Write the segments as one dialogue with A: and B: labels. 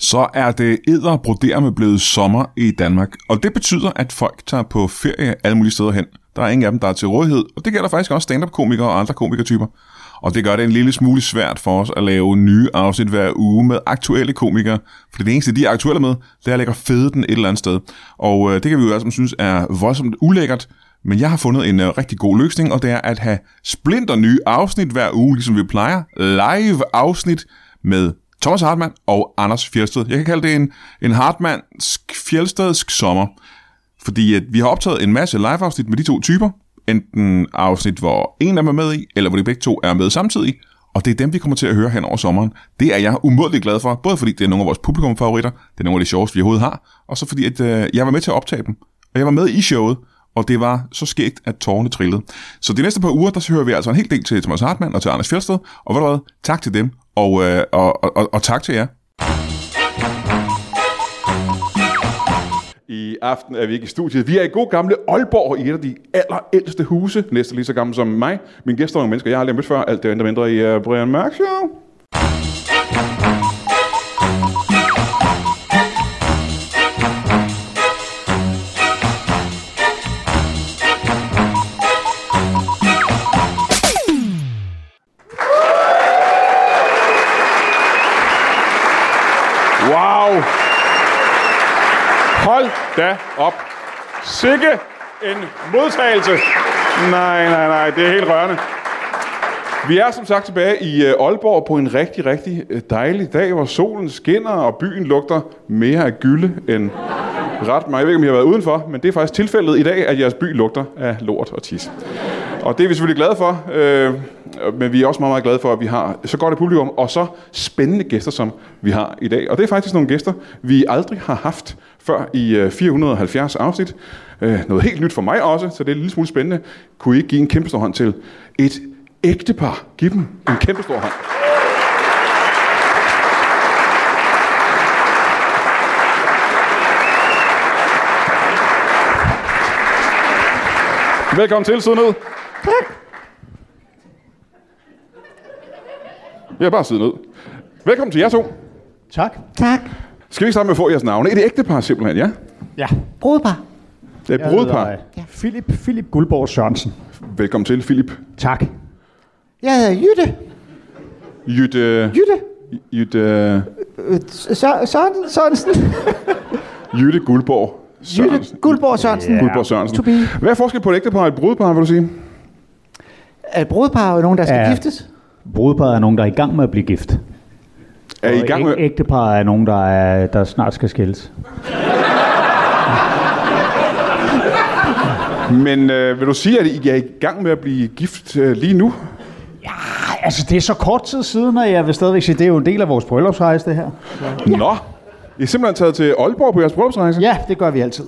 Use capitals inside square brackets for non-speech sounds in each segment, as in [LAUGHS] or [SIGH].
A: så er det æder med blevet sommer i Danmark. Og det betyder, at folk tager på ferie alle mulige steder hen. Der er ingen af dem, der er til rådighed, og det gælder faktisk også stand-up-komikere og andre komikertyper. Og det gør det en lille smule svært for os at lave nye afsnit hver uge med aktuelle komikere, for det eneste, de er aktuelle med, det er at lægge fede den et eller andet sted. Og øh, det kan vi jo altså synes er voldsomt ulækkert, men jeg har fundet en øh, rigtig god løsning, og det er at have splinter nye afsnit hver uge, ligesom vi plejer. Live afsnit med Thomas Hartmann og Anders Fjeldsted. Jeg kan kalde det en, en Hartmannsk Fjeldstedsk sommer. Fordi at vi har optaget en masse live-afsnit med de to typer. Enten afsnit, hvor en af dem er med i, eller hvor de begge to er med samtidig. Og det er dem, vi kommer til at høre hen over sommeren. Det er jeg umådeligt glad for, både fordi det er nogle af vores publikumfavoritter, det er nogle af de sjoveste, vi overhovedet har, og så fordi at, øh, jeg var med til at optage dem. Og jeg var med i showet, og det var så skægt, at tårerne trillede. Så de næste par uger, der hører vi altså en hel del til Thomas Hartmann og til Anders Fjeldsted. Og ved du hvad, tak til dem, og, øh, og, og, og, og tak til jer. I aften er vi ikke i studiet. Vi er i god gamle Aalborg i et af de allerældste huse. Næsten lige så gammel som mig. Mine gæster er nogle mennesker, jeg har aldrig mødt før. Alt det andet mindre i uh, Brian Mørk Show. Wow! Hold da op. Sikke en modtagelse. Nej, nej, nej, det er helt rørende. Vi er som sagt tilbage i øh, Aalborg på en rigtig, rigtig øh, dejlig dag, hvor solen skinner og byen lugter mere af gylde end ret meget. Jeg ved ikke, om I har været udenfor, men det er faktisk tilfældet i dag, at jeres by lugter af lort og tis. Og det er vi selvfølgelig glade for, øh, men vi er også meget, meget glade for, at vi har så godt et publikum, og så spændende gæster, som vi har i dag. Og det er faktisk nogle gæster, vi aldrig har haft før i øh, 470 afsnit. Øh, noget helt nyt for mig også, så det er en lille smule spændende. Kunne I ikke give en kæmpe stor hånd til et ægtepar? Giv dem en kæmpe stor hånd. Velkommen til, sid ned. Tak. Ja, bare sid ned. Velkommen til jer to.
B: Tak.
C: Tak.
A: Skal vi ikke starte med at få jeres navne? Er det ægtepar simpelthen, ja?
B: Ja.
C: Brudepar.
A: Det er et brudepar.
C: Ja.
B: Philip, Philip Guldborg Sørensen.
A: Velkommen til, Philip.
B: Tak.
C: Jeg hedder Jytte.
A: Jytte...
C: Jytte.
A: Jytte...
C: Øh, Sø- Sørensen. Sørensen.
A: Jytte Guldborg.
C: Jytte Guldborg Sørensen.
B: Ja.
A: Guldborg Sørensen.
C: To be.
A: Hvad er forskellen på et ægtepar og et brudepar, vil du sige?
C: Er et brudepar jo nogen, der skal
B: Ja.
C: giftes?
B: Brudeparet er nogen, der er i gang med at blive gift.
A: Er I i gang med...
B: Ægteparet er nogen, der, er, der snart skal skilles.
A: Men øh, vil du sige, at I er i gang med at blive gift øh, lige nu?
B: Ej, altså, det er så kort tid siden, og jeg vil stadigvæk sige, det er jo en del af vores bryllupsrejse, det her.
A: Ja. Nå! I er simpelthen taget til Aalborg på jeres bryllupsrejse?
B: Ja, det gør vi altid.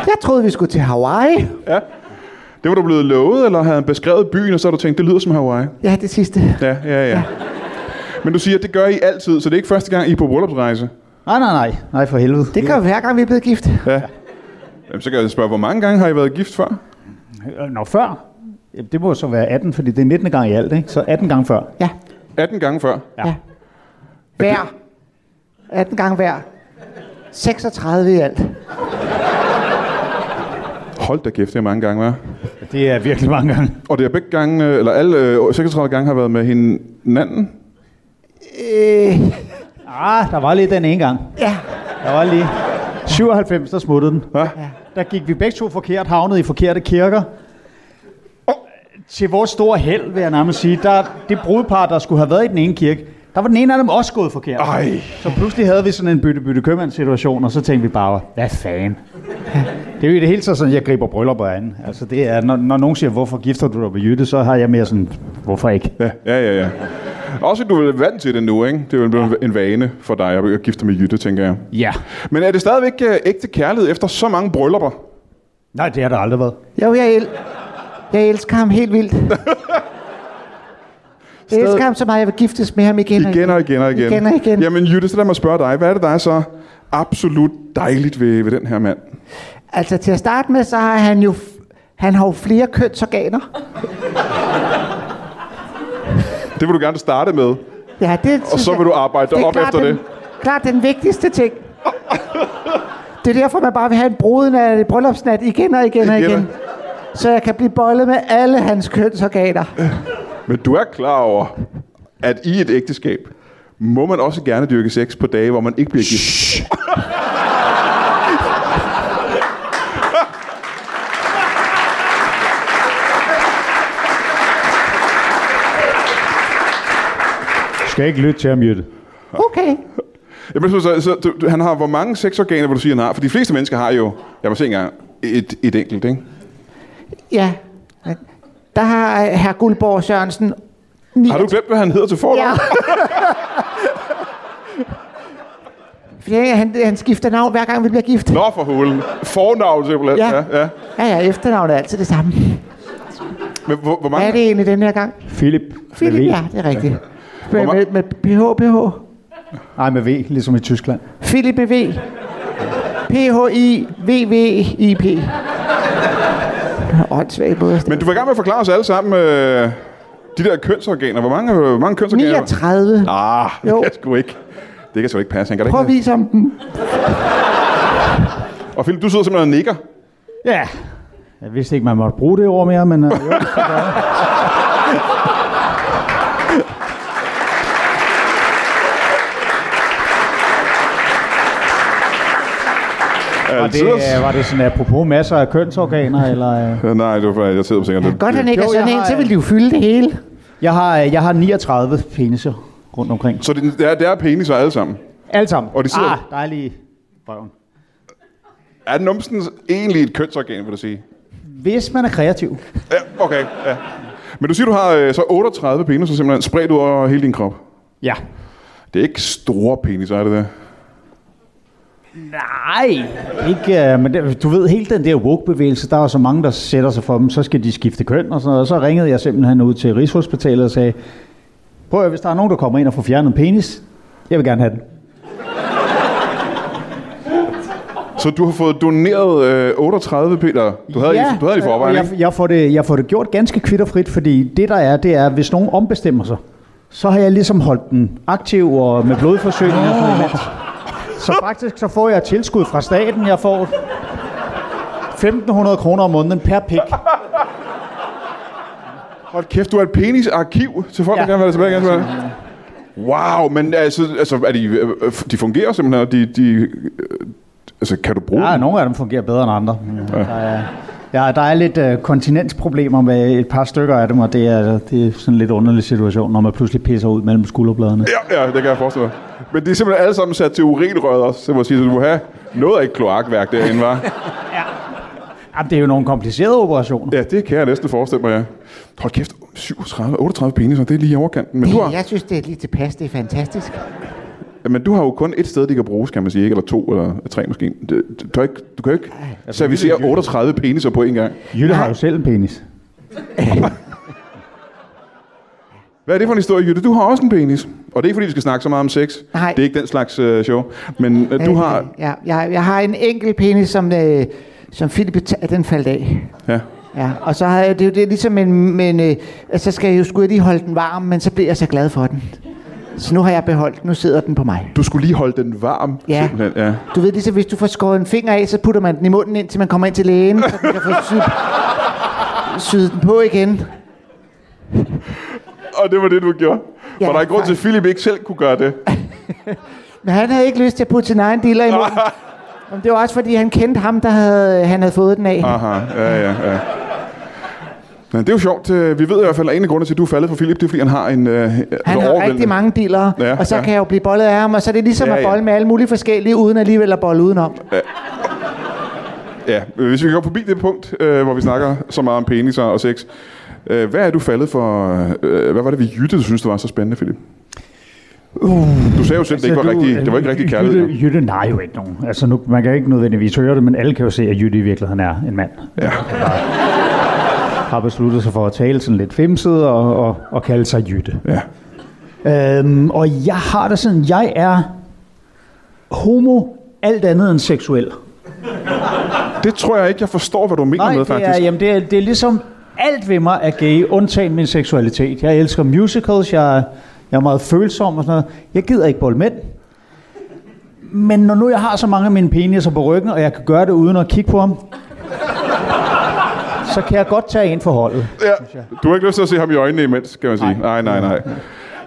C: Jeg troede, vi skulle til Hawaii.
A: Det var du blevet lovet, eller havde han beskrevet byen, og så har du tænkt, det lyder som Hawaii?
C: Ja, det sidste.
A: Ja, ja, ja. Men du siger, at det gør I altid, så det er ikke første gang, I er på bryllupsrejse?
B: Nej, nej, nej. Nej, for helvede.
C: Det gør vi hver gang, vi er blevet gift.
A: Jamen, så kan jeg spørge, hvor mange gange har I været gift før?
B: Øh, Nå, før. Jamen, Det må så være 18, fordi det er 19. gang i alt, ikke? Så 18 gange før.
C: Ja.
A: 18 gange før.
C: ja. Hver. 18 gange hver. 36 i alt.
A: Hold da kæft, det er mange gange, hva'?
B: Det er virkelig mange gange.
A: Og det er begge gange, øh, eller alle øh, 36 gange har været med hinanden?
C: Øh,
B: Ah, der var lige den ene gang.
C: ja.
B: Der var lige 97, der smuttede den.
A: Hva?
B: Der gik vi begge to forkert, havnede i forkerte kirker. Og til vores store held, vil jeg nærmest sige, der, det brudepar, der skulle have været i den ene kirke, der var den ene af dem også gået forkert.
A: Ej.
B: Så pludselig havde vi sådan en bytte-bytte-købmandssituation, og så tænkte vi bare, hvad fanden? Det er jo i det hele taget sådan, jeg griber bryllupper an. Altså det er, når, når nogen siger, hvorfor gifter du dig med Jytte, så har jeg mere sådan, hvorfor ikke?
A: Ja, ja, ja. ja. Også at du er vant til det nu, ikke? Det er jo blevet en vane for dig at gifte dig med Jytte, tænker jeg.
B: Ja.
A: Men er det stadigvæk øh, ægte kærlighed efter så mange bryllupper?
B: Nej, det har der aldrig været.
C: Jo, jeg, el- jeg elsker ham helt vildt. Jeg elsker ham så meget, jeg vil giftes med ham igen og
A: Igen og igen og igen.
C: Igen og igen.
A: Jamen Jytte, så lad mig spørge dig. Hvad er det, der er så absolut dejligt ved, ved den her mand?
C: Altså til at starte med, så har han jo... f- Han har jo flere kønsorganer.
A: Det vil du gerne starte med.
C: Ja, det,
A: Og
C: synes
A: så
C: jeg-
A: vil du arbejde dig op
C: klart
A: efter
C: den,
A: det.
C: Klart den vigtigste ting. Det er derfor, man bare vil have en bruden af bryllupsnat igen og igen og
A: Igen.
C: igen. Så jeg kan blive bollet med alle hans kønsorganer.
A: Men du er klar over, at i et ægteskab, må man også gerne dyrke sex på dage, hvor man ikke bliver gift.
B: Du skal ikke lytte til ham, Jytte.
C: Okay.
A: Jamen, så, så, så du, du- han har hvor mange sexorganer, hvor du siger, han har? For de fleste mennesker har jo, jeg må se engang, et, et enkelt, ikke?
C: Ja. Men Der har øh, herr Guldborg Sørensen... Ni-
A: Har du glemt, hvad han hedder til fornavn?
C: Ja. [LAUGHS] Fordi han, han skifter navn, hver gang vi bliver gift.
A: Nå for hulen. Fornavn simpelthen.
C: Ja.
A: ja, ja.
C: Ja, ja, efternavnet er altid det samme.
A: Men hvor, hvor mange?
C: Hvad er det egentlig den her gang?
B: Philip.
C: Philip,
B: med v.
C: ja, det er rigtigt. Med,
A: Hvor
C: med, med PH, PH.
B: Nej, med V, ligesom i Tyskland.
C: Philip med V. P-H-I-V-V-I-P. Åndssvagt måde. at stave.
A: Men du var i gang med at forklare os alle sammen, øh, de der kønsorganer. Hvor mange, hvor mange kønsorganer?
C: 39.
A: Ah,
C: Jo.
A: det kan sgu ikke. Det kan sgu ikke passe. Han kan da
C: Prøv at
A: ikke.
C: vise om den.
A: Og Philip, du sidder simpelthen og nikker.
C: Ah,
B: Ja. Jeg vidste ikke, man måtte bruge det ord mere, men... øh, jo. Var det, øh, var det sådan apropos masser af kønsorganer, eller... øh?
A: Øh, Nej, det var for, jeg sidder på sengen.
C: Godt, han ikke er
B: Jo,
C: sådan
B: jeg
C: en,
B: har,
C: så
B: øh,
C: ville de jo fylde det hele.
B: Jeg har, øh, jeg har 39 peniser rundt omkring.
A: Så det, det, er, det er peniser alle sammen.
B: Alle sammen.
A: Og de sidder-
B: Ah, dejlige røven.
C: Ah.
A: Er numsen egentlig et kønsorgan, vil du sige?
B: Hvis man er kreativ.
A: Ja, okay. Ja. Men du siger, du har øh, så 38 peniser simpelthen spredt ud over hele din krop.
B: Ja.
A: Det er ikke store peniser, er det det?
B: Nej, ikke, øh, men det, du ved, hele den der woke-bevægelse, der er jo så mange, der sætter sig for dem, så skal de skifte køn og sådan noget. Og så ringede jeg simpelthen ud til Rigshospitalet og sagde, prøv at høre, hvis der er nogen, der kommer ind og får fjernet en penis, jeg vil gerne have den.
A: Så du har fået doneret øh, 38 Peter. Du havde, ja, du havde det i
B: øh,
A: forvejen,
B: og
A: ikke?
B: jeg, jeg, får det, jeg får det gjort ganske kvitterfrit, fordi det der er, det er, hvis nogen ombestemmer sig, så har jeg ligesom holdt den aktiv og med blodforsøgning og sådan noget. lidt. Så faktisk så får jeg tilskud fra staten, jeg får 1500 kroner om måneden per pik.
A: Hold kæft, du er et penisarkiv til folk, ja.
B: Ja.
A: der gerne vil have det tilbage. Gerne vil have det. Wow, men altså, altså er de, øh, øh, de fungerer simpelthen, og de, de, øh, altså, kan du bruge
B: Ja,
A: dem?
B: nogle af dem fungerer bedre end andre. Ja. Der, er, ja, der er lidt øh, kontinensproblemer med et par stykker af dem, og det er, det er sådan en lidt underlig situation, når man pludselig pisser ud mellem skulderbladene.
A: Ja, ja, det kan jeg forestille mig. Men de er simpelthen alle sammen sat til urinrøret også, så man siger, så du må have noget af et kloakværk derinde, var.
B: Jamen, det er jo nogle komplicerede operationer.
A: Ja, det kan jeg næsten forestille mig, ja. Hold kæft, 37, 38 peniser, det er lige i overkanten. Men du, har,
C: Jeg synes, det er lige tilpas. Det er fantastisk.
A: men du har jo kun et sted, de kan bruges, kan man sige, ikke? Eller to, eller tre måske. Det- Du, du, har ikke, du kan jo ikke servicere 38 peniser på en gang.
B: Jytte har jo selv en penis.
A: Hvad er det for en historie, Jytte? Du har også en penis. Og det er ikke, fordi vi skal snakke så meget om sex.
C: Nej.
A: Det er ikke den slags øh, show. Men øh, du
C: Øh,
A: har...
C: Ja, jeg, jeg har en enkelt penis, som, øh, som Philip... beta- Den faldt af.
A: Ja.
C: Ja, og så har jeg, det er jo det, er ligesom en, men, øh, altså, så skal jeg jo skulle lige holde den varm, men så bliver jeg så glad for den. Så nu har jeg beholdt den, nu sidder den på mig.
A: Du skulle lige holde den varm.
C: Ja.
A: Simpelthen. ja.
C: Du ved ligesom, hvis du får skåret en finger af, så putter man den i munden, indtil man kommer ind til lægen, så man kan få syet, syet den på igen.
A: Og det var det, du gjorde. Ja,
C: Ja,
A: var der en grund til, at Philip ikke selv kunne gøre det?
C: Men han havde ikke lyst til at putte sin egen diller i
A: [LAUGHS]
C: munden. Men det var også, fordi han kendte ham, der havde, han havde fået den
A: Ah.
C: af.
A: Aha, ja, ja, ja. Men det er jo sjovt. øh, Vi ved i hvert fald, at en af grundene til, at du er faldet for Philip, det er, fordi han har en... Øh,
C: Han har rigtig mange dillere,
A: Ja,
C: ja, og så
A: ja.
C: ja. kan jeg jo blive bollet af ham, og så er det ligesom
A: Ja,
C: ja, ja.
A: ja.
C: at bolle med alle mulige forskellige, uden alligevel at bolle udenom.
A: Ja, øh, hvis vi går forbi det punkt, øh, hvor vi snakker så meget om peniser og sex. Øh, hvad er du faldet for... Øh, hvad var det, vi jyttede, du synes, det var så spændende, Philip? Uh, du sagde jo selv, det ikke var,
B: Altså,
A: rigtig, det var ikke rigtig kærlighed. jo.
B: Jytte, Jytte nej jo ikke nogen. Altså, nu, man kan ikke nødvendigvis høre det, men alle kan jo se, at Jytte i virkeligheden er en mand. Ja. Har besluttet sig for at tale sådan lidt femset og, og, og kalde sig Jytte.
A: Ja.
B: Øhm, og jeg har det sådan, jeg er homo alt andet end seksuel.
A: Det tror jeg ikke, jeg forstår, hvad du mener
B: Nej,
A: med,
B: det er,
A: faktisk.
B: jamen, det, er, det er ligesom alt ved mig er gay, undtagen min seksualitet. Jeg elsker musicals, jeg, Jeg er meget følsom og sådan noget. Jeg gider ikke bolle mænd. Men når nu jeg har så mange af mine peniser på ryggen, og jeg kan gøre det uden at kigge på ham, så kan jeg godt tage en for holdet.
A: Ja. Du har ikke lyst til at se ham i øjnene imens, kan man sige. Nej, nej, nej.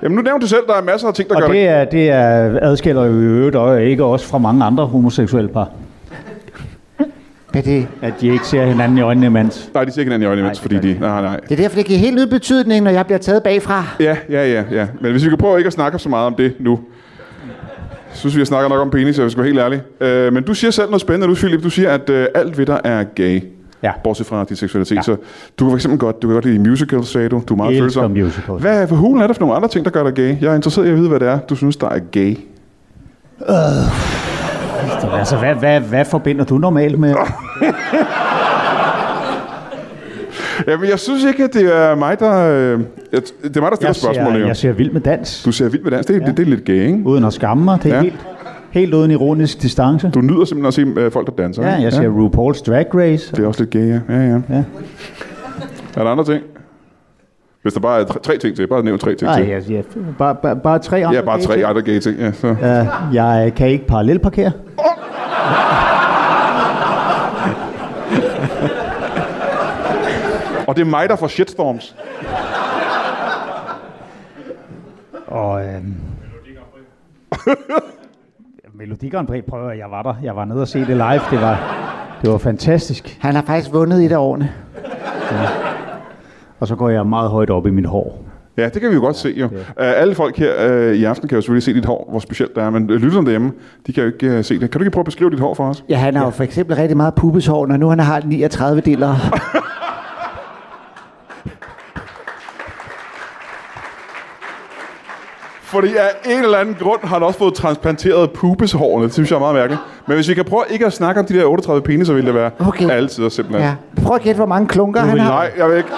A: Jamen nu nævnte du selv, der er masser af ting, der gør
B: Og
A: det.
B: det, er, det er, adskiller jo i øvrigt og ikke også fra mange andre homoseksuelle par,
C: Men det,
B: at de ikke ser hinanden i øjnene imens.
A: Nej, de ser ikke hinanden i øjnene imens,
B: det
A: fordi
B: gør
A: de... Nej, nej.
C: det er derfor, det giver helt ny betydning, når jeg bliver taget bagfra.
A: Ja, ja, ja, ja. Men hvis vi kan prøve ikke at snakke så meget om det nu. Jeg synes, vi har snakket nok om penis, jeg skal være helt ærlig. Øh, men du siger selv noget spændende nu, Philip. Du siger, at øh, alt ved dig er gay.
B: Ja.
A: Bortset fra din seksualitet. Ja. Så du kan for eksempel godt, du kan godt lide musicals, sagde du. Du er meget
B: Jeg elsker
A: følsom.
B: musicals.
A: Hvad for hulen er der for nogle andre ting, der gør dig gay? Jeg er interesseret i at vide, hvad det er, du synes, der er gay.
B: Så, altså, hvad, hvad, hvad forbinder du normalt med?
A: Jamen, jeg synes ikke, at det er mig, der... Øh, jeg- det er mig, der stiller
B: Jeg
A: spørgsmålet.
B: ser,
A: jo.
B: jeg ser vild med dans,
A: Du ser vild med dans. Det, ja. det, det er lidt gay, ikke?
B: uden at skamme mig. Det
A: Ja.
B: er ja. helt, helt uden ironisk distance.
A: Du nyder simpelthen at se øh, folk, der danser.
B: Ja,
A: ikke?
B: jeg ser ja. RuPaul's Drag Race.
A: Det er også lidt gay, ja. ja, ja.
B: Ja.
A: Er der andre ting? Hvis der bare er tre, tre ting til, bare nævn tre ting
B: Nej,
A: til.
B: jeg, jeg, bare, bare, bare tre andre
A: Ja, bare
B: gay
A: tre
B: ting.
A: andre gay ting. Ja, så. Ja.
B: Øh, jeg kan ikke parallelparkere.
A: Og det er mig, der får shitstorms.
B: Og...
A: [LAUGHS]
B: Øh, Melodi Grand Prix, prøver jeg var der. Jeg var nede og se det live. Det var, det var fantastisk.
C: Han har faktisk vundet et af årene.
B: Og så går jeg meget højt op i mit hår.
A: Ja, det kan vi jo godt se jo. Uh, alle folk her uh, i aften kan jo selvfølgelig se dit hår, hvor specielt det er, men øh, lytterne derhjemme, de kan jo ikke uh, se det. Kan du ikke prøve at beskrive dit hår for os?
C: Ja, han har jo for eksempel rigtig meget pubeshår, når nu han har 39 deler.
A: Fordi af en eller anden grund har han også fået transplanteret pubeshårene. Det synes jeg er meget mærkeligt. Men hvis vi kan prøve ikke at snakke om de der 38 peniser, vil det være
C: Okay.
A: altid simpelthen.
C: Ja. Prøv at gætte, hvor mange klunker han har.
A: Nej, jeg vil ikke.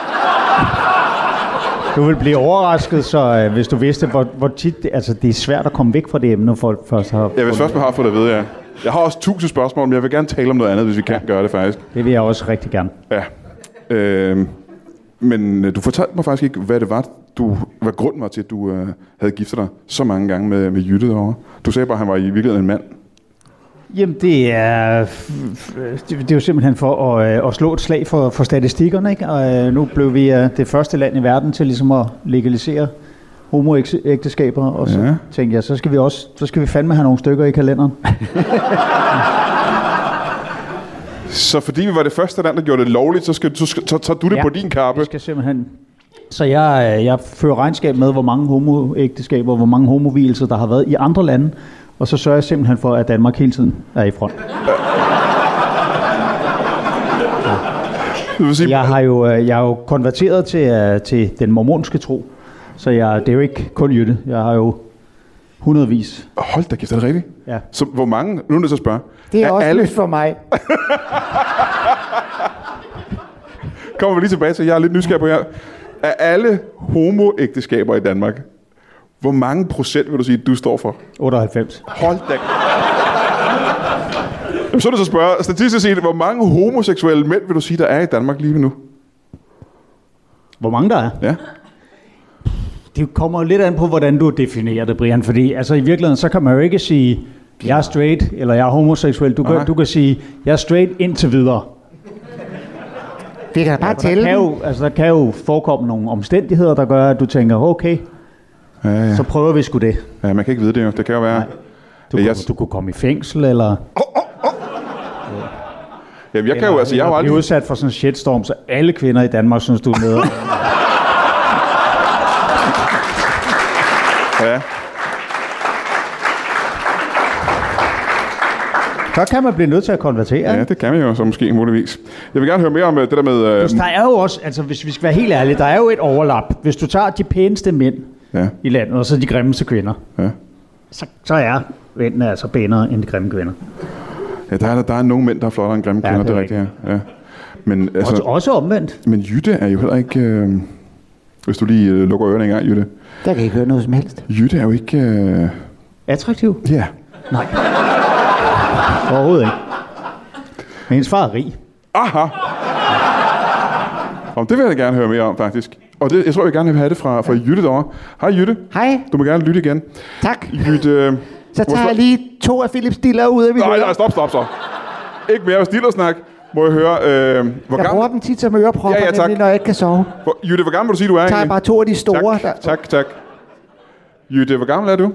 B: Du vil blive overrasket, så øh, hvis du vidste, hvor, hvor tit... Det, altså, det er svært at komme væk fra det emne, folk først har...
A: Ja, hvis først man har fået det at vide, ja. Jeg har også tusind spørgsmål, men jeg vil gerne tale om noget andet, hvis vi kan gøre det faktisk.
B: Det vil jeg også rigtig gerne.
A: Ja. Øhm, men øh, du fortalte mig faktisk ikke, hvad det var, du, hvad grunden var til, at du øh, havde giftet dig så mange gange med, med Jytte derovre. Du sagde bare, at han var i virkeligheden en mand.
B: Jamen, det er, det det er jo simpelthen for at, øh, at slå et slag for, for statistikkerne. Ikke? Og øh, nu blev vi øh, det første land i verden til ligesom at legalisere homoægteskaber. Og så
A: Ja.
B: ja. tænkte jeg, så skal vi også så skal vi fandme have nogle stykker i kalenderen.
A: Så fordi vi var det første land, der gjorde det lovligt, så, skal, så, skal, så tager du det ja. på din kappe.
B: Vi skal simpelthen... Så jeg, øh, jeg fører regnskab med, hvor mange homoægteskaber, hvor mange homovielser, der har været i andre lande. Og så sørger jeg simpelthen for, at Danmark hele tiden er i front.
A: Det vil sige, ja.
B: Jeg har jo, øh, jeg har jo konverteret til, øh, til den mormonske tro, så jeg, det er jo ikke kun jytte. Jeg har jo hundredvis.
A: hold da kæft, er det rigtigt?
B: Ja.
A: Så hvor mange, nu er jeg nødt til at spørge.
C: Det er,
A: Er
C: også
A: alle-
C: alle... nyt for mig.
A: Kommer vi lige tilbage til, jeg er lidt nysgerrig på jer. Af alle homoægteskaber i Danmark, hvor mange procent vil du sige, du står for?
B: 98.
A: Hold da. Jamen, så er det så at spørge, statistisk set, hvor mange homoseksuelle mænd vil du sige, der er i Danmark lige nu?
B: Hvor mange der er?
A: Ja.
B: Det kommer jo lidt an på, hvordan du definerer det, Brian. Fordi altså, i virkeligheden, så kan man jo ikke sige, jeg er straight, eller jeg er homoseksuel. Du
A: Nej.
B: kan, du kan sige, jeg er straight indtil videre.
C: Vi kan da bare
B: Der
C: tælle
B: kan,
C: dem.
B: jo, altså, der kan jo forekomme nogle omstændigheder, der gør, at du tænker, okay,
A: Ja, ja.
B: så prøver vi sgu det.
A: ja man kan ikke vide det jo. Det kan jo være...
B: Du,
A: Ja,
B: kunne,
A: jeg-
B: du kunne komme i fængsel, eller...
A: Jamen, jeg kan jo, altså, jeg har jo
B: Eller blive
A: aldrig...
B: udsat for sådan en shitstorm, så alle kvinder i Danmark synes, du er
A: [LAUGHS]
B: nede.
A: Ja.
B: så kan man blive nødt til at konvertere.
A: ja,
B: ikke?
A: det kan man jo så måske muligvis. Jeg vil gerne høre mere om øh, det der med... Øh,
B: Der er jo også, altså hvis vi skal være helt ærlige, der er jo et overlap. Hvis du tager de pæneste mænd
A: ja,
B: i landet, og så de grimmeste kvinder,
A: ja.
B: så, så er mændene altså pænere end de grimme kvinder.
A: ja der, er, der er nogle mænd, der er flottere end grimme
B: Ja,
A: kvinder, det
B: det
A: er
B: er
A: rigtigt, ja. ja. Men, altså,
B: Altså, også omvendt.
A: men Jytte er jo heller ikke... Øh, hvis du lige øh, lukker ørerne en gang, Jytte.
C: Der kan I ikke høre noget som helst.
A: Jytte er jo ikke... Øh,
B: Attraktiv?
A: ja,
B: Nej. Overhovedet ikke. Men hendes far er rig.
A: Aha! Om det vil jeg da gerne høre mere om, faktisk. Og det, jeg tror, jeg gerne vil have det fra, fra Jytte derovre. Hej Jytte,
C: Hej,
A: du må gerne lytte igen.
C: tak.
A: Jytte... øh,
C: Så tager
A: hvorfor-
C: jeg lige to af Philips diller ud af mit
A: Nej,
C: øre.
A: nej, stop, stop, stop. Ikke mere stillersnak. Må jeg høre, øh, hvor,
C: Jeg bruger
A: gammel,
C: dem tit som ørepropper,
A: Ja, ja, tak.
C: nemlig, når jeg ikke kan sove.
A: hvor, Jytte, hvor gammel vil du sige, du er
C: tager jeg bare to af de store.
A: tak,
C: Der.
A: tak, tak. Jytte, hvor gammel er du?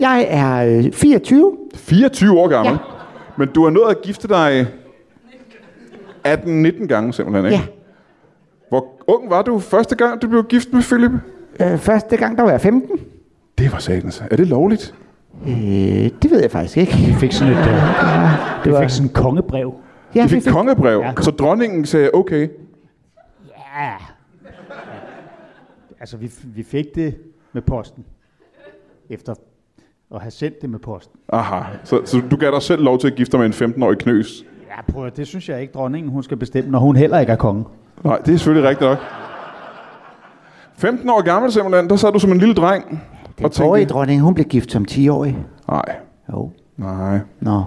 C: Jeg er øh, 24.
A: 24 år gammel.
C: Ja.
A: Ja. Men du har nået at gifte dig 18-19 gange simpelthen, ikke?
C: Ja.
A: Hvor ung var du første gang, du blev gift med Philip?
C: Øh, første gang, der var jeg 15.
A: Det var satans. Er det lovligt?
C: Øh, det ved jeg faktisk ikke.
B: Vi fik sådan et, øh,
C: Det
B: vi
C: var,
B: fik sådan et kongebrev.
C: ja,
A: I fik kongebrev, ja. så dronningen sagde okay.
B: Ja. Altså, vi, vi fik det med posten. Efter at have sendt det med posten.
A: Aha, så, så du gav dig selv lov til at gifte dig med en 15-årig knøs.
B: Ja, prøv at- det synes jeg ikke, dronningen hun skal bestemme, når hun heller ikke er konge.
A: Nej, det er selvfølgelig rigtigt nok. 15 år gammel simpelthen, der sad du som en lille dreng. og
C: Den forrige dronning, hun blev gift som 10-årig.
A: nej,
C: Jo.
A: nej.
C: Nå.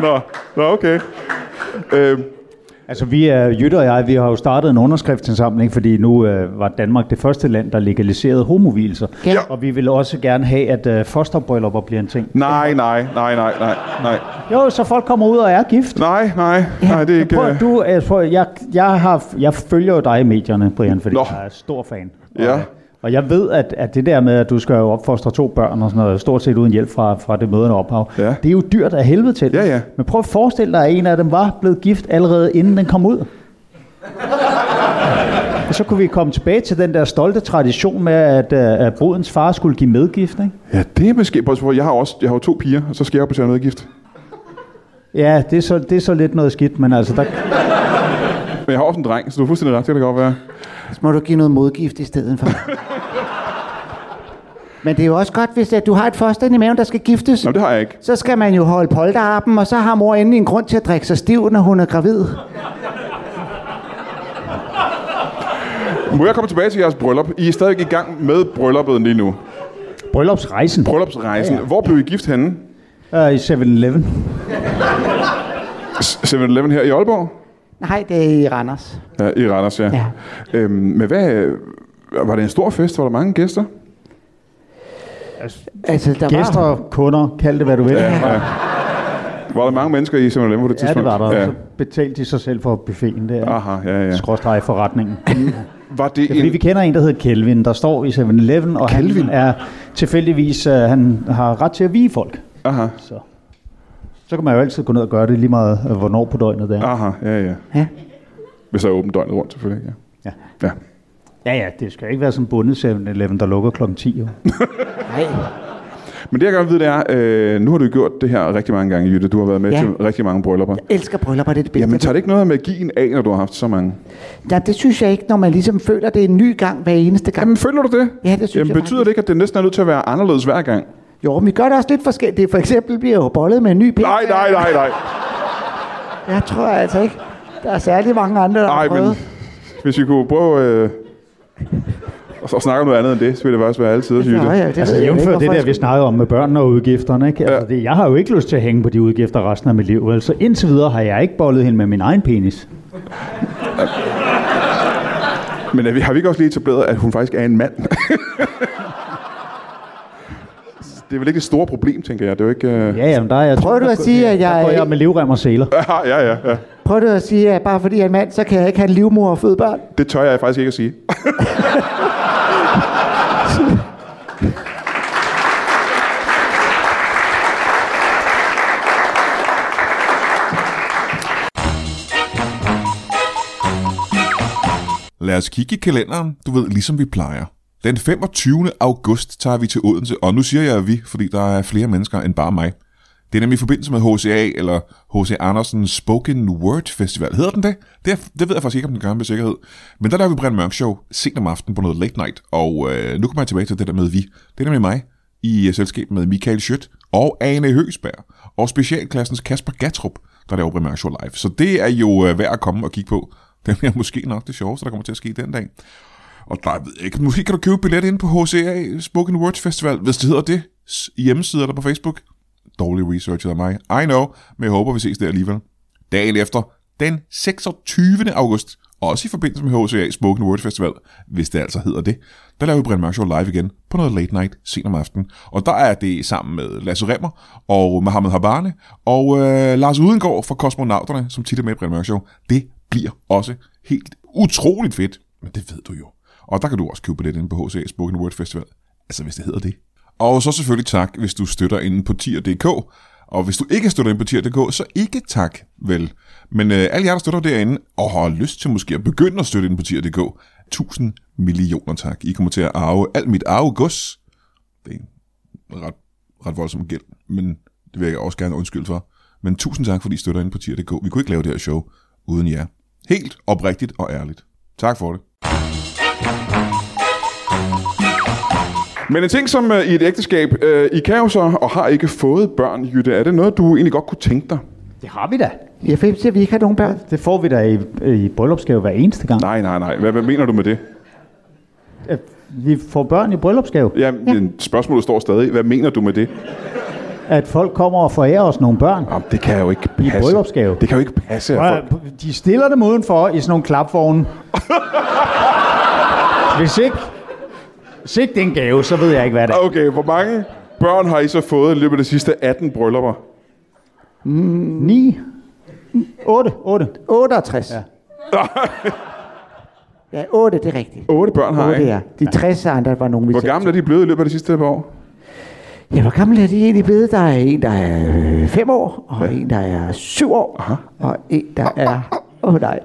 A: Nå, nå okay. Øh,
B: Altså, vi er, Jytte og jeg, vi har jo startet en underskriftsindsamling, fordi nu øh, var Danmark det første land, der legaliserede homovilser.
C: Ja. Ja.
B: Og vi vil også gerne have, at øh, fosterbryllupper bliver en ting.
A: nej, nej, nej, nej, nej, nej.
B: Jo, så folk kommer ud og er gift.
A: Nej, nej, nej, det er ikke...
B: Prøv,
A: øh,
B: at- du, jeg, prøv, at- jeg, jeg, har, jeg følger jo dig i medierne, Brian, fordi
A: Nå.
B: Nå. jeg er stor fan.
A: Ja.
B: Og, og jeg ved, at, at det der med, at du skal jo opfostre to børn og sådan noget, stort set uden hjælp fra, fra det mødende ophav,
A: Ja.
B: det er jo dyrt af helvede til.
A: Ja, ja.
B: Men prøv at forestille dig, at en af dem var blevet gift allerede inden den kom ud. Og så kunne vi komme tilbage til den der stolte tradition med, at, øh, at brudens far skulle give medgift, ikke?
A: Ja, det er måske... Prøv, at se, prøv, jeg har også jeg har jo to piger, og så skal jeg op og tage noget gift.
B: Ja, det er, så, det er så lidt noget skidt, men altså, der,
A: Men jeg har også en dreng, så du er fuldstændig ret, det kan det godt være.
C: Så må du give noget modgift i stedet for. Men det er jo også godt, hvis at du har et foster inde i maven, der skal giftes.
A: Nå, det har jeg ikke.
C: Så skal man jo holde polterappen, og så har mor endelig en grund til at drikke sig stiv, når hun er gravid.
A: Må jeg komme tilbage til jeres bryllup? I er stadig i gang med brylluppet lige nu.
B: bryllupsrejsen
A: Bryllupsrejsen. Ja, ja. Hvor blev I gift henne?
B: øh, i 7-Eleven.
A: S- 7-Eleven her i Aalborg?
C: Nej, det er i Randers.
A: Ja, i Randers, ja.
C: Ja.
A: Øhm, men hvad... Var det en stor fest? Var der mange gæster?
C: Altså, der var...
B: Gæster, kunder, kald det hvad du vil. Ja,
A: ja. Var der mange mennesker i 7-Eleven på det
B: ja det
A: tidspunkt?
B: var der. Ja. Så betalte de sig selv for buffeten der. Ah,
A: Aha, ja, ja.
B: ja. Skråstrej forretningen.
A: Var det
B: Fordi vi
A: en...
B: kender en, der hedder Kelvin, der står i 7-Eleven, og
A: Kelvin?
B: han er tilfældigvis, øh, han har ret til at vige folk.
A: Aha,
B: Så. så kan man jo altid gå ned og gøre det lige meget, øh, hvornår på døgnet det er.
A: aha, ja, ja.
C: Ja.
A: Hvis der er åbent døgnet rundt, selvfølgelig, ja.
B: Ja.
A: Ja.
B: ja, ja, det skal ikke være sådan en bundet 7-Eleven, der lukker klokken 10. Jo.
C: Nej.
A: Men det jeg gerne vil vide, det er, øh, nu har du gjort det her rigtig mange gange, Jytte. Du har været med
C: Ja.
A: ja. til rigtig mange bryllupper.
C: Jeg elsker bryllupper, det er det bedste.
A: Jamen tager det ikke noget af magien af, når du har haft så mange?
C: Ja, det synes jeg ikke, når man ligesom føler, det er en ny gang hver eneste gang.
A: Jamen føler du det?
C: Ja, det synes
A: Jamen,
C: jeg
A: betyder
C: faktisk.
A: det ikke, at det næsten er nødt til at være anderledes hver gang?
C: Jo, men vi gør det også lidt forskelligt. Det er For eksempel bliver jeg jo bollet med en ny pind.
A: Nej, nej, nej, nej.
C: Jeg tror altså ikke. Der er særlig mange andre, der har
A: Nej, men
C: prøvet.
A: hvis vi kunne prøve øh, at at snakke om noget andet end det, så ville det faktisk være altid at
C: Nå, ja,
A: Jytte.
C: det
B: Altså
C: ved jeg
B: jævnfør
C: ikke,
B: det
C: hvorfor
B: der,
C: jeg
B: vi snakkede om med børn og udgifterne. Ikke? Altså, det, jeg har jo ikke lyst til at hænge på de udgifter resten af mit liv. vel? Så indtil videre har jeg ikke bollet hende med min egen penis.
A: Men er vi, har vi ikke også lige etableret, at hun faktisk er en mand? det er vel ikke det store problem, tænker jeg. Det er jo ikke... Øh...
B: Ja, jamen, der er jeg...
C: Prøver du at sige, at jeg-
B: Der går jeg med livrem og seler.
A: [LAUGHS] Ja, ja, ja, ja.
C: skulle- Prøv du at sige, at bare fordi jeg er en mand, så kan jeg ikke have en livmor og føde børn?
A: Det tør jeg faktisk ikke at sige.
D: Lad os kigge i kalenderen, du ved, ligesom vi plejer. Den 25. august tager vi til Odense, og nu siger jeg vi, fordi der er flere mennesker end bare mig. Det er nemlig i forbindelse med HCA, eller H.C. Andersen Spoken Word Festival. Hedder den det? Det, er, det ved jeg faktisk ikke, om den gør med sikkerhed. Men der laver vi Brian Mørk Show sent om aftenen på noget late night, og øh, nu kommer jeg tilbage til det der med vi. Det er nemlig mig i øh, selskab med Michael Schødt og Ane Høsberg og specialklassens Kasper Gatrup, der laver Brian Mørk Show live. Så det er jo øh, værd at komme og kigge på. [LAUGHS] Det bliver måske nok det sjoveste, der kommer til at ske den dag. Og der ved jeg ikke, måske kan du købe billet ind på HCA Spoken Words Festival, hvis det hedder det, s- hjemmesider der på Facebook. Dårlig research af mig. I know, men jeg håber, vi ses der alligevel. Dagen efter, den 26. august, også i forbindelse med HCA Spoken Word Festival, hvis det altså hedder det. Der laver vi Brian Mørk Show live igen på noget late night senere om aftenen. Og der er det sammen med Lasse Remmer og Mohammed Habane og øh, Lars Udengård fra Kosmonauterne, som tit er med i Brian Mørk Show. Det bliver også helt utroligt fedt, men det ved du jo. Og der kan du også købe billet inde på HCA Spoken Word Festival, altså hvis det hedder det. Og så selvfølgelig tak, hvis du støtter inde på tier.dk. Og hvis du ikke støtter inde på tier.dk, så ikke tak, vel. Men øh, alle jer, der støtter derinde, og har lyst til måske at begynde at støtte inde på tier.dk, tusind millioner tak. I kommer til at arve alt mit arvegods. Det er en ret, ret voldsom gæld, men det vil jeg også gerne undskylde for. Men tusind tak, fordi I støtter inde på tier.dk. Vi kunne ikke lave det her show uden jer. Helt oprigtigt og ærligt. Tak for det.
A: Men en ting som øh, i et ægteskab, øh, I kan jo så, og har ikke fået børn, Jytte, er det noget, du egentlig godt kunne tænke dig?
B: Det har vi da.
C: Jeg finder, at vi ikke har nogen børn.
B: Det får vi da i, i bryllupsgave hver eneste gang.
A: Nej, nej, nej. Hvad, hvad mener du med det?
B: At Vi får børn i bryllupsgave.
A: Ja, men spørgsmålet står stadig. Hvad mener du med det?
B: At folk kommer og forærer os nogle børn.
A: Jamen, det kan jeg jo ikke passe.
B: bryllupsgave.
A: Det kan jo ikke passe. at folk-
B: Og øh, de stiller dem udenfor i sådan nogle [LAUGHS] klapvogne. Hvis ikke, hvis ikke det er en gave, så ved jeg ikke, hvad det er.
A: Okay, hvor mange børn har I så fået i løbet af de sidste 18 bryllupper?
B: 9? 8? 8.
C: 68. Ja. [LAUGHS] ja, 8, det er rigtigt.
A: 8 børn har
C: 8,
A: I.
C: ja. De 60 andre var nogen, vi
A: Hvor
C: selv-
A: gamle er de blevet i løbet af de sidste par år?
C: Ja, hvor gammel er de egentlig blevet? Der er en, der er 5 år, og ja. en, der er 7 år, Aha. og en, der er... Åh oh, nej,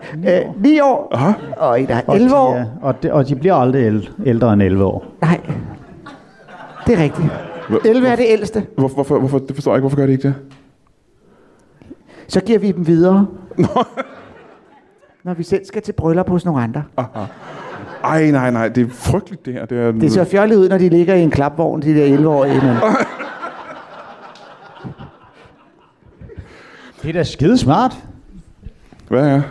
C: 9 år, Aha. og en, der er 11 år.
B: Og de, er- og, de, og de bliver aldrig el- ældre end 11 år.
C: Nej, det er rigtigt.
A: Hvor-
C: 11 er det ældste.
A: Hvor, hvorfor, hvorfor, det forstår jeg ikke. Hvorfor gør de ikke det?
C: Så giver vi dem videre. Når vi selv skal til bryllup hos nogle andre.
A: Ej, nej, nej. Det er frygteligt, det her. Det er,
C: Det ser fjollet ud, når de ligger i en klapvogn, de der 11-årige. Men...
B: Det er da skide smart,
A: Hvad er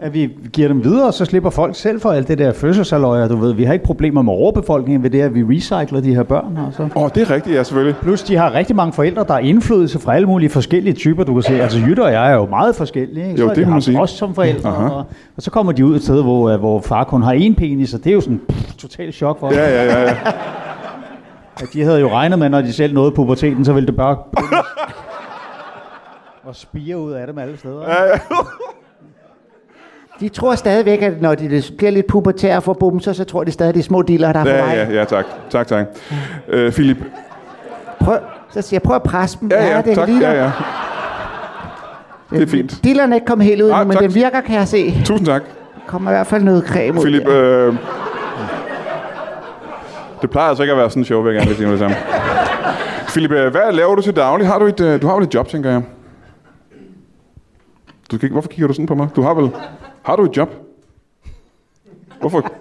B: at vi giver dem videre, så slipper folk selv for alt det der fødselsaløjer. Du ved, vi har ikke problemer med overbefolkningen ved det, at vi recycler de her børn. Og så.
A: Åh, oh, det er rigtigt, ja, selvfølgelig.
B: Plus, de har rigtig mange forældre, der er indflydelse fra alle mulige forskellige typer. Du kan se, altså Jytte og jeg er jo meget forskellige. Ikke?
A: Jo,
B: så er
A: det
B: de
A: må man
B: haft
A: sige.
B: Os som forældre.
A: Aha.
B: Og, og, så kommer de ud et sted, hvor, øh, hvor far kun har én penis, og det er jo sådan pff, totalt chok for dem.
A: Ja, ja, ja. ja.
B: At de havde jo regnet med, når de selv nåede puberteten, så ville det bare
A: [LAUGHS]
B: begynde at spire ud af dem alle steder. Ja.
C: De tror stadigvæk, at når de bliver lidt pubertære for bumser, så tror de stadig, at det er små diller, der er på
A: Ja,
C: vej.
A: ja, ja, tak. Tak, tak. Øh, Philip.
C: Prøv, så siger jeg, prøv at presse dem.
A: Ja, ja,
C: det
A: tak.
C: ligner-
A: Ja, ja. Det er fint.
C: Dillerne er ikke kommet helt ud
A: Nej,
C: endnu, men
A: tak.
C: den virker, kan jeg se.
A: Tusind tak,
C: Der kommer i hvert fald noget creme ud.
A: Philip.
C: der.
A: Øh, det plejer altså ikke at være sådan en show, vil jeg gerne lige sige med det samme. Philip, øh, hvad laver du til daglig? Har du, et, øh, du har vel et job, tænker jeg. Du kan ikke, hvorfor kigger du sådan på mig? Du har vel... Har du et job? Hvorfor?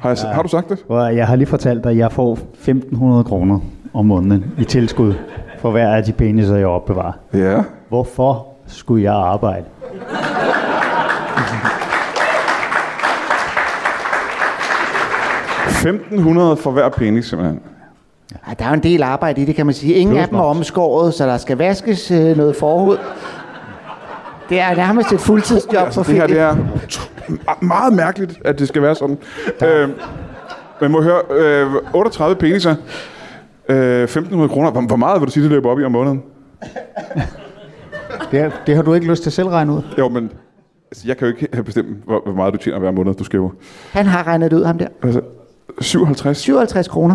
A: Har, jeg, har du sagt det?
B: Og jeg har lige fortalt dig, at jeg får 1.500 kroner om måneden i tilskud for hver af de peniser, jeg opbevarer.
A: Ja.
B: Hvorfor skulle jeg arbejde?
A: $1.500 for hver penis, simpelthen.
C: Ej, der er jo en del arbejde i det, kan man sige. Ingen
B: Plus
C: af dem er
B: moms.
C: omskåret, så der skal vaskes øh, noget forhud. Det er nærmest et fuldtidsjob for
A: altså, Det her,
C: Philip.
A: det er tr- meget mærkeligt, at det skal være sådan. Øh, man må høre, øh, 38 peniser, øh, 1.500 kroner. Hvor, hvor meget vil du sige, det løber op i om måneden?
B: Det, er- det har du ikke lyst til selv at regne ud.
A: Jo, men altså, jeg kan jo ikke have bestemt, hvor, hvor meget du tjener hver måned, du skriver.
C: Han har regnet det ud, ham der.
A: Altså, 57.
C: 57 kroner.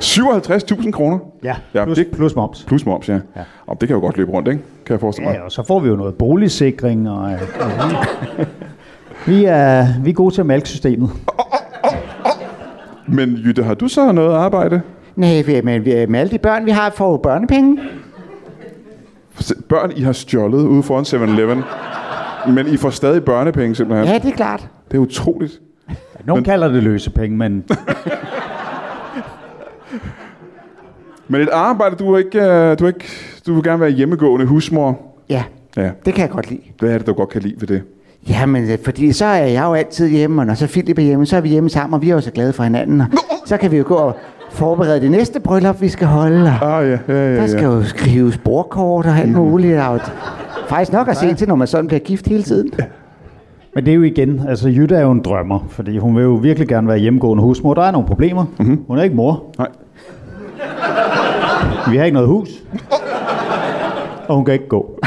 A: 57.000 kroner?
B: Ja,
A: Ja,
B: plus,
A: det-
B: plus moms.
A: Plus moms, ja. ja.
B: Ja.
A: Og det kan jo godt løbe rundt, ikke? Kan jeg forestille mig.
B: Ja, og så får vi jo noget boligsikring. Og, øh, og vi, vi, er, vi er gode til at mælke systemet.
A: Men Jytte, har du så noget arbejde?
C: Nej, vi- men vi- med alle de børn, vi har, får jo børnepenge.
A: Se- Børn, I har stjålet ude foran 7-Eleven. Men I får stadig børnepenge, simpelthen.
C: Ja, det er klart.
A: Det er utroligt.
B: Nogle kalder det løsepenge, men
A: Men et arbejde, du er ikke, øh, du er ikke, du vil gerne være hjemmegående husmor.
C: Ja,
A: Ja.
C: det kan jeg godt lide.
A: Hvad er det, du godt kan lide ved det?
C: Jamen, øh, fordi så er jeg jo altid hjemme, og når så Philip er hjemme, så er vi hjemme sammen, og vi er jo så glade for hinanden. Og så kan vi jo gå og forberede det næste bryllup, vi skal holde. Og
A: Ah, ja, ja, ja,
C: der skal
A: ja.
C: jo skrives bordkort og alt muligt. Og det- faktisk nok at se til, når man sådan bliver gift hele tiden.
B: Men det er jo igen, altså Jytte er jo en drømmer, fordi hun vil jo virkelig gerne være hjemmegående husmor. Der er nogle problemer. Mm-hmm. Hun er ikke mor.
A: Mhm. Nej.
B: Vi har ikke noget hus. Og hun kan ikke gå.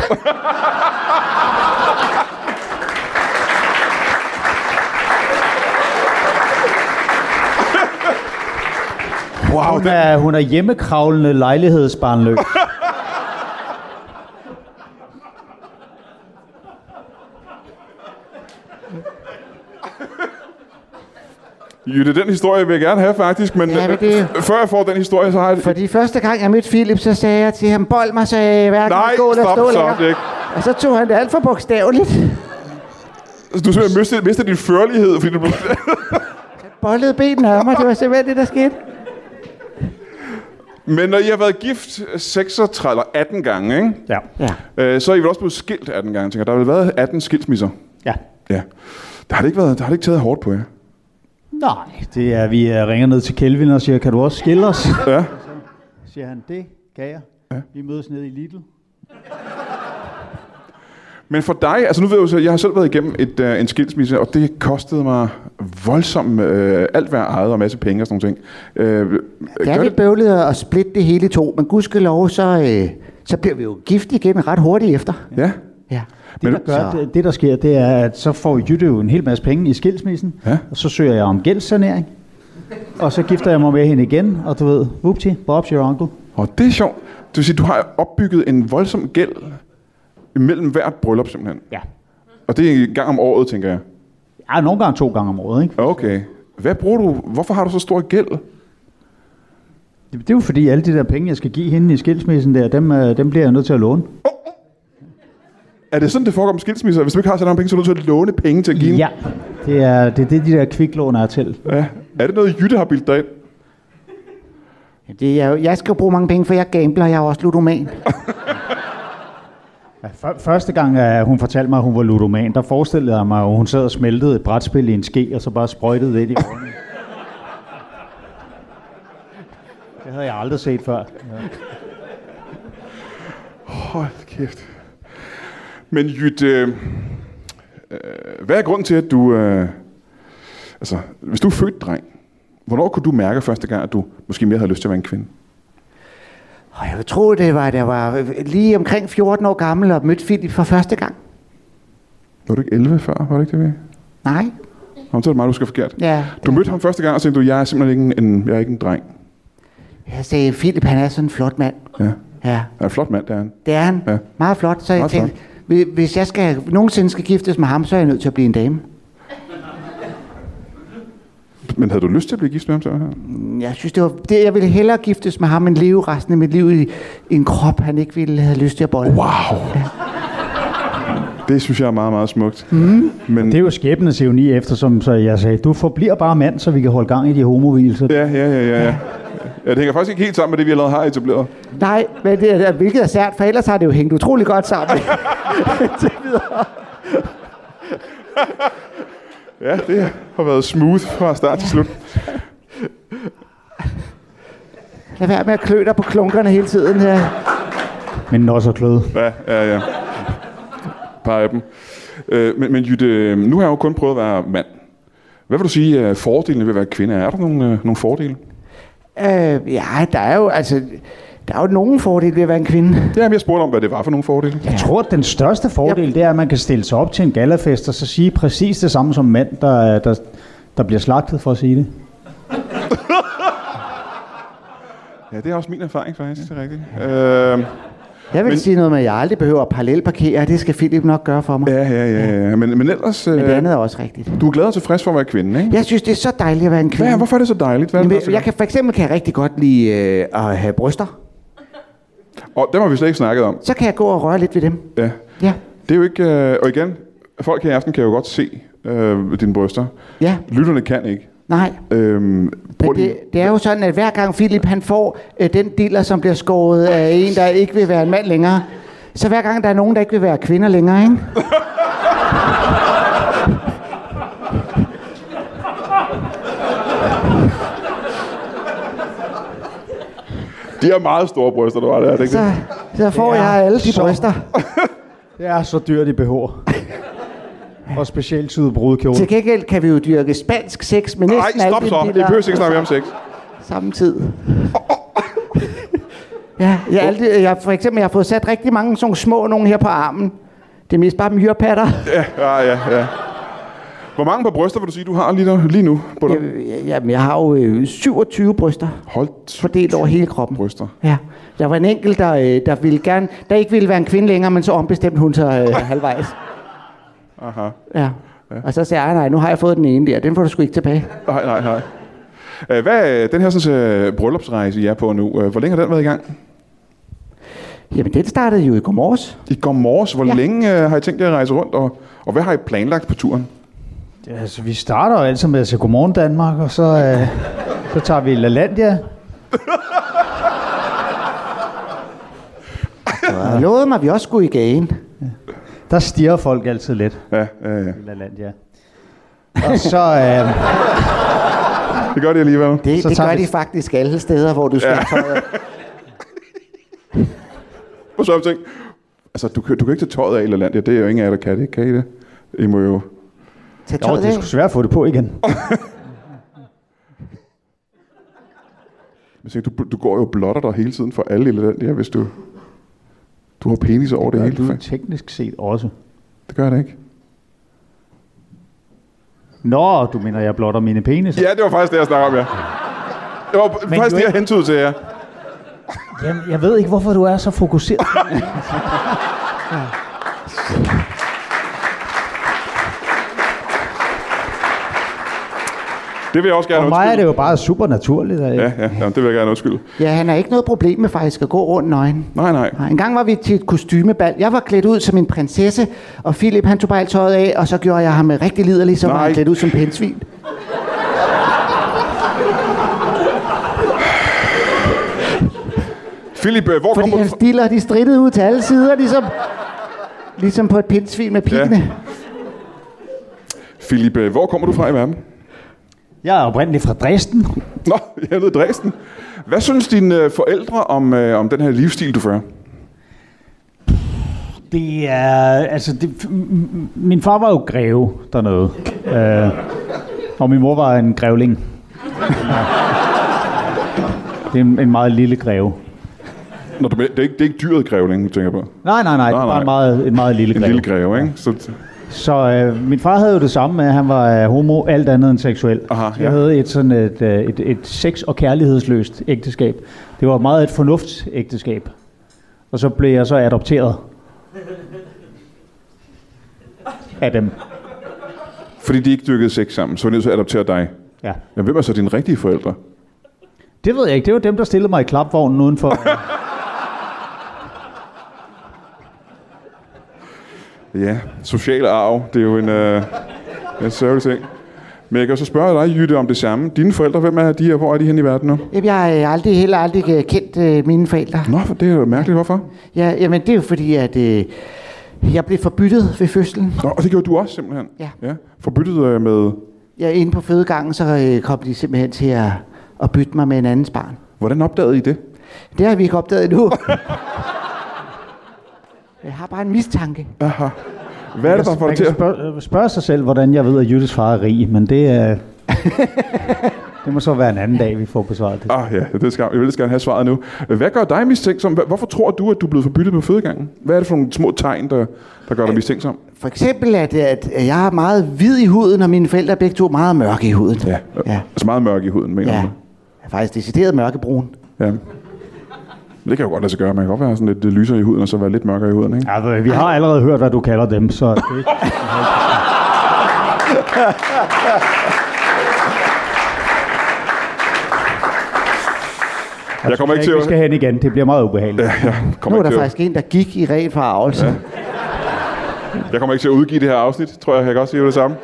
A: Wow,
B: Hun
A: den,
B: er, hun er hjemmekravlende lejlighedsbarnløs.
A: Jytte, den historie vil jeg gerne have faktisk, men
C: Ja, men
A: øh,
C: det-
A: f- før jeg får den historie, så har jeg...
C: Fordi første gang jeg mødte Philip, så sagde jeg til ham, bold mig, så jeg hverken
A: Nej,
C: kan gå eller
A: stop,
C: stå
A: stop,
C: længere."
A: ikke.
C: Og så tog han det alt for bogstaveligt.
A: Du simpelthen mistede, mistede din førlighed, fordi du blev... [LAUGHS]
C: Bollede benene af mig, det var simpelthen det, der skete.
A: men når I har været gift 36 eller 18 gange, ikke?
B: Ja.
C: Ja.
A: Øh, så er I vel også blevet skilt 18 gange, tænker jeg. Der har vel været 18 skilsmisser.
B: ja.
A: Ja. Der har det ikke, været, der har det ikke taget hårdt på jer.
B: Nej, det er, vi øh, ringer ned til Kelvin og siger, kan du også skille os?
A: Ja.
B: Siger han, det kan jeg. Ja. Vi mødes nede i Lidl.
A: Men for dig, altså nu ved jeg jo så, jeg har selv været igennem et, øh, en skilsmisse, og det kostede mig voldsomt øh, alt hvad jeg ejede og masse penge og sådan nogle ting. Øh,
C: Det
A: gør
C: er lidt bøvlet at splitte det hele i to, men gudskelov, så, øh, så bliver vi jo gift igen ret hurtigt efter.
A: Ja.
C: Ja.
B: Det, der gør,
C: Så-
B: det, det, der sker, det er, at så får Jytte jo en hel masse penge i skilsmissen,
A: Ja.
B: og så søger jeg om gældssanering, og så gifter jeg mig med hende igen, og du ved, whoopty, Bob's your uncle.
A: Og det er sjovt. Det vil sige, du har opbygget en voldsom gæld imellem hvert bryllup simpelthen.
B: Ja.
A: Og det er en gang om året, tænker jeg.
B: Ja, nogle gange to gange om året, ikke?
A: Okay. Hvad bruger du? Hvorfor har du så stor gæld?
B: Det, det er jo fordi, alle de der penge, jeg skal give hende i skilsmissen der, dem, øh, dem bliver jeg nødt til at låne.
A: Er det sådan, det foregår med skilsmisser? Hvis du ikke har så mange penge, så er du nødt til at låne penge til at give en-
B: Ja, det er det, er det de der kviklån er til.
A: ja. Er det noget, Jytte har bildt dig ind?
C: Det er jo, jeg skal jo bruge mange penge, for jeg gambler, jeg er også ludoman.
B: Ja, før- Første gang, at hun fortalte mig, at hun var ludoman, der forestillede jeg mig, at hun sad og smeltede et brætspil i en ske, og så bare sprøjtede det ind i ovnen. Det havde jeg aldrig set før. Ja.
A: Hold kæft. Men Jytte, øh, øh, hvad er grunden til, at du... Øh, altså, hvis du er født dreng, hvornår kunne du mærke første gang, at du måske mere havde lyst til at være en kvinde?
C: Og jeg tror, det var, der var lige omkring 14 år gammel og mødte Philip for første gang.
A: Var du ikke 11 før? Var du ikke det? Vicky?
C: Nej.
A: Nå, så er det mig, du skal forkert.
C: Ja.
A: Du mødte ham første gang og tænkte, du, jeg er simpelthen ikke en, en, jeg er ikke en dreng.
C: Jeg sagde, Philip, han er sådan en flot mand.
A: Ja.
C: Ja,
A: Han er en flot mand, der er han.
C: det er han.
A: Ja.
C: Ja. Meget flot. Så jeg
A: Meget
C: tænkte, "Hvi- hvis jeg skal, nogensinde skal giftes med ham, så er jeg nødt til at blive en dame.
A: Men havde du lyst til at blive gift med ham? Så?
C: Mm, Jeg synes, det var det, jeg ville hellere giftes med ham, end leve resten af mit liv i i en krop, han ikke ville have lyst til at bolle.
A: Wow! Det synes jeg er meget, meget smukt. Mm. Men,
B: Det er jo skæbnens ironi efter, som så jeg sagde, du forbliver bare mand, så vi kan holde gang i de homovilser.
A: Ja, ja, ja, ja, ja. Ja, det hænger faktisk ikke helt sammen med det, vi allerede har etableret.
C: Nej, men det er, hvilket er sært, for ellers har det jo hængt utrolig
A: [LAUGHS]
C: godt sammen.
A: Ja, det har været smooth fra start til slut.
C: Lad være med at klø dig på klunkerne hele tiden her.
B: Men den er også kløde.
A: Ja, ja, ja. Par af dem. Øh, men, men Jytte, øh, nu har jeg jo kun prøvet at være mand. Hvad vil du sige, øh, fordelene ved at være kvinde er? Er der nogle, øh, nogle fordele?
C: Øh, ja, der er jo altså... Der er jo nogen fordel ved at være en kvinde.
A: Ja, men jeg spurgte om, hvad det var for nogle fordele.
B: Jeg tror, at den største fordel, det er, at man kan stille sig op til en galafest og så sige præcis det samme som mand, der, der, der bliver slagtet for at sige det.
A: Ja, det er også min erfaring faktisk, det er rigtigt. Øh,
C: Jeg vil
A: Men-
C: men... sige noget med, at jeg aldrig behøver at parallelparkere. Det skal Philip nok gøre for mig. Ja.
A: ja, ja, ja, ja. Men, men ellers, øh,
C: Men det andet er også rigtigt.
A: du er glad og tilfreds for at være kvinde, ikke?
C: Jeg synes, det er så dejligt at være en kvinde.
A: Ja, hvorfor er det så dejligt? Hvad er det,
C: Jamen,
A: første
C: jeg
A: gang?
C: kan for eksempel kan jeg rigtig godt lide øh, at have bryster.
A: Og dem har vi slet ikke snakket om.
C: Så kan jeg gå og røre lidt ved dem.
A: Ja.
C: Ja,
A: Det er jo ikke... Øh, og igen, folk her i aften kan jo godt se øh, dine bryster.
C: ja,
A: Lytterne kan ikke.
C: nej.
A: Øhm, prøv
C: Men
A: lige.
C: det, det er jo sådan, at hver gang Philip han får øh, den diller, som bliver skåret af en, der ikke vil være en mand længere, så hver gang der er nogen, der ikke vil være kvinder længere, ikke?
A: De har meget store bryster, der var der, er det ikke
C: Så,
A: det?
C: så får
B: Det er
C: jeg alle de
B: så-
C: bryster.
B: Det er så dyrt i BH. Og specielt syet brudkjole.
C: Til gengæld kan vi jo dyrke spansk sex med
A: Nej,
C: næsten
A: stop
C: alle
A: så.
C: de
A: Det behøver ikke
C: biller
A: snakke mere om sex.
C: samme tid. ja, jeg, er altid, jeg, for eksempel, jeg har fået sat rigtig mange sådan nogle små nogen her på armen. Det er mest bare myrepatter.
A: Ja, ja, ja. ja. Hvor mange på bryster vil du sige, du har lige, nu- lige nu? På dig?
C: Jeg, jamen, jeg har jo øh, 27 bryster
A: Hold t-
C: fordelt over hele kroppen.
A: bryster.
C: Ja. Der var en enkelt, der, øh, der, ville gerne, der ikke ville være en kvinde længere, men så ombestemte hun sig
B: [LAUGHS]
C: øh, halvvejs.
A: Aha.
C: Ja. Og så sagde jeg, "Ej, nej, nu har jeg fået den ene der. Den får du sgu ikke tilbage.
A: Nej, nej, nej. Øh, Hvad er den her sådan, uh, bryllupsrejse, I er på nu? øh, Hvor længe har den været i gang?
C: Jamen, den startede jo i går morges.
A: I går morges. Hvor ja.
C: Ja.
A: længe uh, har I tænkt jer at rejse rundt? Og, og hvad har I planlagt på turen?
B: Ja, Altså, vi starter jo altid med at sige godmorgen Danmark, og så, øh, så tager vi LaLandia.
C: Og jeg lovede mig, at vi også skulle i gagen.
B: Der stiger folk altid lidt
A: Ja, øh,
B: i LaLandia. Og så, øh,
A: det gør det alligevel.
C: Det,
B: Så
C: det
B: tager
C: gør
B: vi-
C: de faktisk alle steder, hvor du skal ja.
A: Og så har jeg tænkt, altså du, kan- du kan ikke tage tøjet af eller andet. Det er jo ingen af jer, der kan det. Kan I det? I må jo...
C: tage
B: [LAUGHS] jo,
C: tøjet
B: det er
C: af.
B: sgu svært at få det på igen.
A: Jeg tænker, du, du går jo og blotter dig hele tiden for alle eller andet. Ja, hvis du... Du har penis over det,
B: Det
A: det
B: er
A: hele.
B: du
A: Fa-
B: teknisk set også.
A: Det gør det ikke.
B: Nå, du mener, jeg blotter mine penis?
A: Ja, det var faktisk det, jeg snakker om, ja. Det var Men faktisk
B: du
A: det, jeg
B: ikke-
A: hentede til jer.
B: Jamen, jeg ved ikke, hvorfor du er så [LAUGHS] fokuseret.
A: Det vil jeg også gerne
B: For mig er
A: undskylde.
B: det jo bare super naturligt. At,
A: Ja, ja, jamen, det vil jeg gerne undskylde.
C: Ja, han har ikke noget problem med faktisk at gå rundt nøgen.
A: Nej, nej.
C: Nej, en gang var vi til et kostymebal. Jeg var klædt ud som en prinsesse, og Philip han tog bare alt tøjet af, og så gjorde jeg ham øh, rigtig liderlig, så var
A: Nej.
C: han klædt ud som pindsvin.
A: Philip, øh, hvor
C: Fordi
A: kommer
C: han
A: du fra?
C: stiller de strittede ud til alle sider, ligesom, ligesom på et pindsvin med piggene.
A: Philip, øh, hvor kommer du fra i verden?
B: Jeg er oprindeligt fra Dresden.
A: Nå, jeg er nede i Dresden. Hvad synes dine øh, forældre om, øh, om den her livsstil, du fører?
B: Det er, altså, det, m- m- min far var jo greve dernede. Øh, og min mor var en grævling. det er en, en meget lille greve.
A: Nå, du, men- det, er ikke, det er ikke dyret grævling, tænker jeg på.
B: Nej, nej, nej, det
A: Nej,
B: var
A: nej.
B: en meget, en meget lille
A: En
B: greve.
A: lille greve, ikke? Så,
B: Så øh, min far havde jo det samme med, at han var øh, homo, alt andet end seksuel.
A: Aha,
B: jeg
A: ja.
B: havde et, sådan et, øh, et, et sex- og kærlighedsløst ægteskab. Det var meget et fornuftsægteskab. Og så blev jeg så adopteret. Af dem.
A: fordi de ikke dyrkede sex sammen, så var de nødt til at adoptere dig.
B: Ja.
A: Men hvem er så dine rigtige forældre?
B: Det ved jeg ikke. Det var dem, der stillede mig i
A: [LAUGHS]
B: klapvognen udenfor.
A: Ja, social arv, det er jo en, øh, en sørgelig ting. Men jeg kan jo så spørge dig, Jytte, om det samme. Dine forældre, hvem er de, og hvor er de hen i verden nu?
C: Jamen, Jeg har øh, aldrig, heller aldrig øh, kendt øh, mine forældre.
A: Nå, for det er jo mærkeligt, hvorfor?
C: Ja, jamen, det er jo fordi, at øh, jeg blev forbyttet ved fødslen.
A: Nå, og det gjorde du også simpelthen?
C: Ja.
A: ja. Forbyttet øh, med...
C: Jeg er inde på fødegangen, så øh, kom de simpelthen til at, at bytte mig med en andens barn.
A: Hvordan opdagede I det?
C: Det har vi ikke opdaget endnu. [LAUGHS] jeg har bare en mistanke.
A: Hvad er det, der får
B: Man
A: dig til
B: kan
A: at...
B: spørge, øh, spørge sig selv, hvordan jeg ved, at Jyttes far er rig, men det
A: [LAUGHS]
B: er... det må så være en anden dag, vi får besvaret det.
A: Ah ja, det skal, jeg vil gerne have svaret nu. Hvad gør dig mistænksom? Hva- Hvorfor tror du, at du er blevet forbyttet på fødegangen? Hvad er det for nogle små tegn, der, der gør dig mistænksom?
C: For eksempel, at, at jeg er meget hvid i huden, og mine forældre er begge to meget mørke i huden.
A: ja.
C: Ja.
A: Altså meget mørk i huden, mener
C: ja.
A: du?
C: Jeg er faktisk decideret mørkebrun.
A: Ja. Men det kan jo godt lade sig gøre. Man kan godt være sådan lidt øh, lysere i huden, og så være lidt mørkere i huden, ikke?
B: Ja, Altså, vi har allerede hørt, hvad du kalder dem, så... Det,
A: Jeg kommer ikke til
B: vi skal
A: at...
B: hen igen. Det bliver meget ubehageligt.
C: Nu
A: Kommer ikke
C: er der
A: til at
C: faktisk en, der gik i ren forarvelse. Ja.
A: jeg kommer ikke til at udgive det her afsnit, tror jeg. Jeg kan godt sige det samme.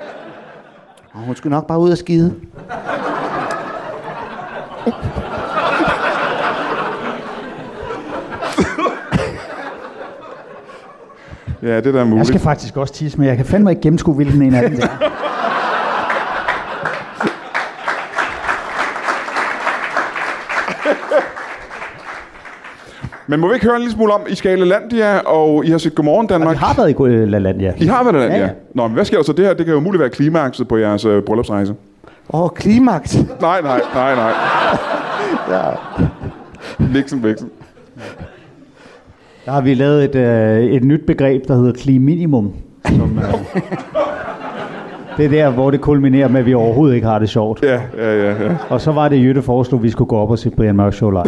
C: Og hun skulle nok bare ud og skide.
A: Ja, det der er
B: Jeg
A: muligt.
B: skal faktisk også tisse, men jeg kan fandme ikke gennemskue, hvilken en af
A: [LAUGHS]
B: dem det er.
A: Men må vi ikke høre en lille smule om, I skal i Lalandia, og I har set Godmorgen Danmark.
B: Vi har været i Gud- La Landia.
A: I har været i Lalandia?
B: Ja,
A: Ja.
B: ja.
A: Nå, men hvad sker der så? Det her det kan jo muligt være klimakset på jeres øh, bryllupsrejse.
C: Åh, oh, klimaks.
A: Nej, nej, nej,
B: [LAUGHS]
A: nej. ja. Nixon, Nixon.
B: Der har vi lavet et, øh, et nyt begreb, der hedder kliminimum.
A: [LAUGHS]
B: Som, øh, det er der, hvor det kulminerer med, at vi overhovedet ikke har det sjovt.
A: Ja, ja, ja, ja.
B: Og så var det, Jytte foreslog, at vi skulle gå op og se Brian
A: [LAUGHS]
B: Mørk Show live.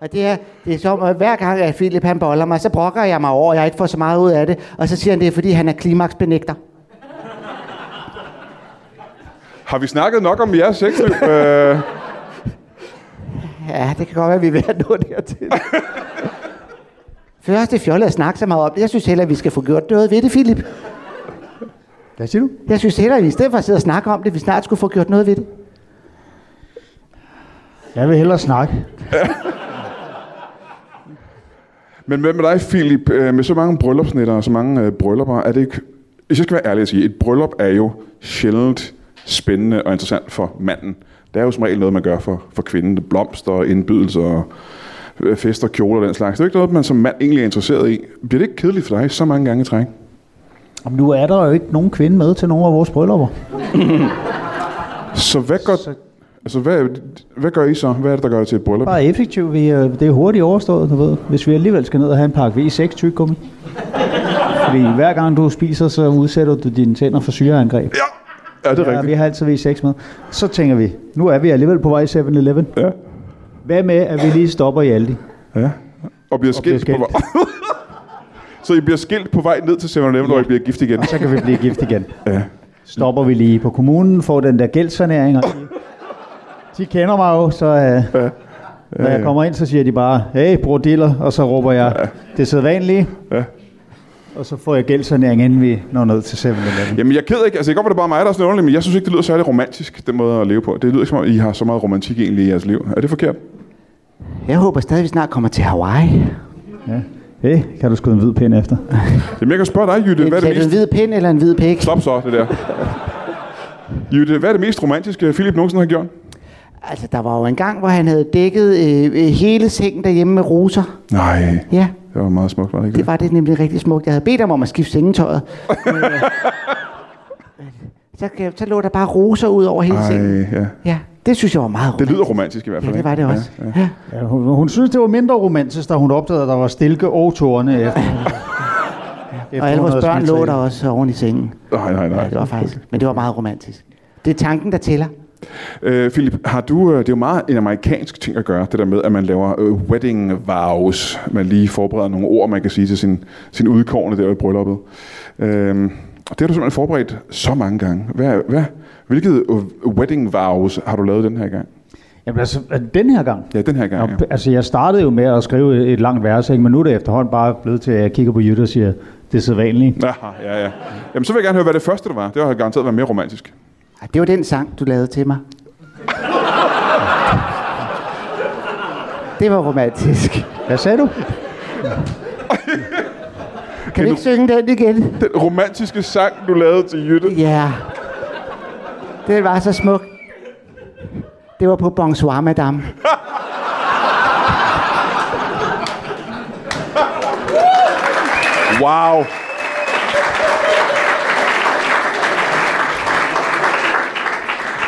C: Og det er, det er som, at hver gang, at Philip han boller mig, så brokker jeg mig over, at jeg ikke får så meget ud af det. Og så siger han, det er, fordi han er klimaksbenægter.
A: Har vi snakket nok om jeres sexliv?
B: [LAUGHS]
A: øh,
C: Ja, det kan godt være, at vi er ved at nå
A: [LAUGHS]
C: dertil. Først det fjollet at snakke så meget om det. Jeg synes heller, at vi skal få gjort noget ved det, Philip.
B: Hvad siger du?
C: Jeg synes heller, at vi i stedet for at sidde og snakke om det, vi snart skulle få gjort noget ved det.
B: Jeg vil hellere snakke.
A: men hvad med dig, Philip? Øh, Med så mange bryllupsnetter og så mange øh, bryllupper, er det ikke... Hvis jeg skal være ærlig at sige, et bryllup er jo sjældent spændende og interessant for manden. Det er jo som regel noget, man gør for, for kvinden. Blomster, og indbydelser, og øh, fester, kjoler og den slags. Det er jo ikke noget, man som mand egentlig er interesseret i. Bliver det ikke kedeligt for dig så mange gange i træk?
B: Jamen, nu er der jo ikke nogen kvinde med til nogen af vores bryllupper.
A: Så hvad gør, altså hvad, hvad gør I så? Hvad er det, der gør det til et bryllup?
B: Bare effektivt. Vi, øh, det er hurtigt overstået, du ved. Hvis vi alligevel skal ned og have en pakke V6 tyggegummi. Fordi hver gang du spiser, så udsætter du dine tænder for syreangreb.
A: Ja, ja det er
B: Ja,
A: rigtigt.
B: vi har altid V6 med. Så tænker vi, nu er vi alligevel på vej i 7-Eleven.
A: Ja.
B: Hvad med, at vi lige stopper i Aldi?
A: Ja. Og bliver skilt,
B: bliver
A: på vej. [LAUGHS] så I bliver skilt på vej ned til 7-Eleven, hvor I bliver gift igen.
B: Så kan vi blive gift igen.
A: Ja.
B: Stopper vi lige på kommunen, får den der gældsanering. Og de, de kender mig jo, så øh, når jeg kommer ind, så siger de bare, hey, bror Diller, og så råber jeg, det er vanligt.
A: Ja.
B: Og så får jeg gældsanering, inden vi når ned til 7-Eleven.
A: Jamen, jeg er ked ikke. Altså, det kan godt være, det er bare mig, der er sådan underlig, men jeg synes ikke, det lyder særlig romantisk, den måde at leve på. Det lyder ikke, som om I har så meget romantik egentlig i jeres liv. Er det forkert?
C: Jeg håber stadig, at vi snart kommer til Hawaii.
B: Ja. Hey, kan du skyde en hvid pind efter?
A: Jamen, jeg kan spørge dig, Jytte, hvad er
C: Sagde
A: det
C: du en
A: mest...
C: hvid pind eller en hvid pik?
A: Stop så, det der. Jytte, hvad er det mest romantiske, Philip nogensinde har gjort?
C: Altså, der var jo en gang, hvor han havde dækket øh, øh, hele sengen derhjemme med roser.
A: Nej,
C: Ja,
A: det var meget smukt, var det ikke
C: det var det nemlig rigtig smukt. Jeg havde bedt ham om at
A: [LAUGHS]
C: skifte sengetøjet. Men, øh, så, kan- så lå der bare roser ud over hele sengen.
A: Ej, ja.
C: Ja, det synes jeg var meget
A: Det
C: romantisk.
A: lyder romantisk i hvert fald.
C: Ja, det var
A: ikke?
C: det også.
A: Ja, ja.
C: ja.
B: Ja, hun, hun synes, det var mindre romantisk, da hun opdagede, at der var stilke og tårne efter. [LAUGHS] efter
C: Og alle
B: hun havde
C: vores børn
B: smidt
C: lå
B: sig
C: der
B: i.
C: også oven i sengen.
A: Nej, nej, nej.
C: Ja, det var faktisk. Men det var meget romantisk. Det er tanken, der tæller.
A: Øh, Philip, har du, øh, det er jo meget en amerikansk ting at gøre, det der med, at man laver øh, wedding vows. Man lige forbereder nogle ord, man kan sige til sin, sin udkårende der i brylluppet. Øh, og det har du simpelthen forberedt så mange gange. Hvad, hvad, hvilket øh, wedding vows har du lavet den her gang?
B: Jamen altså, den her gang.
A: Ja, den her gang. Ja.
B: Ja. Altså, jeg startede jo med at skrive et langt vers, ikke? men nu er det efterhånden bare blevet til, at jeg kigger på Jytte og siger, det er sædvanligt.
A: Aha, ja, ja. Jamen, så vil jeg gerne høre, hvad det første der var. Det har garanteret været mere romantisk.
C: Ej, Det var den sang, du lavede til mig. Det var romantisk.
B: Hvad sagde du?
C: Kan du ikke synge den igen?
A: Den romantiske sang, du lavede til Jytte.
C: Ja. Den var så smuk. Det var på Bonsoir, madame.
A: Wow.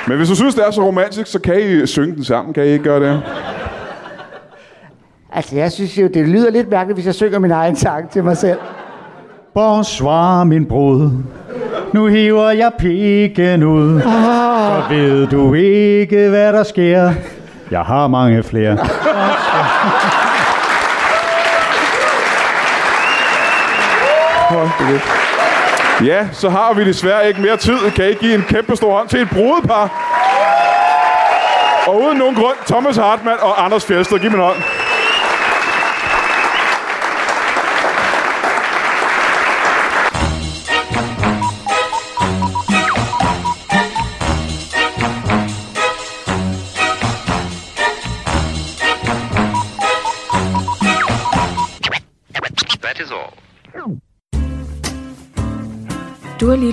A: Men hvis du synes, det er så romantisk, så kan I synge den sammen. Kan I ikke gøre det?
C: Altså, jeg synes jo, det lyder lidt mærkeligt, hvis jeg synger min egen sang til mig selv.
B: Bonsoir, min brud. Nu hiver jeg pikken ud. Så ved du ikke, hvad der sker. Jeg har mange flere.
A: Ja, så har vi desværre ikke mere tid. Kan I give en kæmpe stor hånd til et brudepar? Og uden nogen grund, Thomas Hartmann og Anders Fjeldsted. Giv mig en hånd.
E: That is all.
F: Du har lige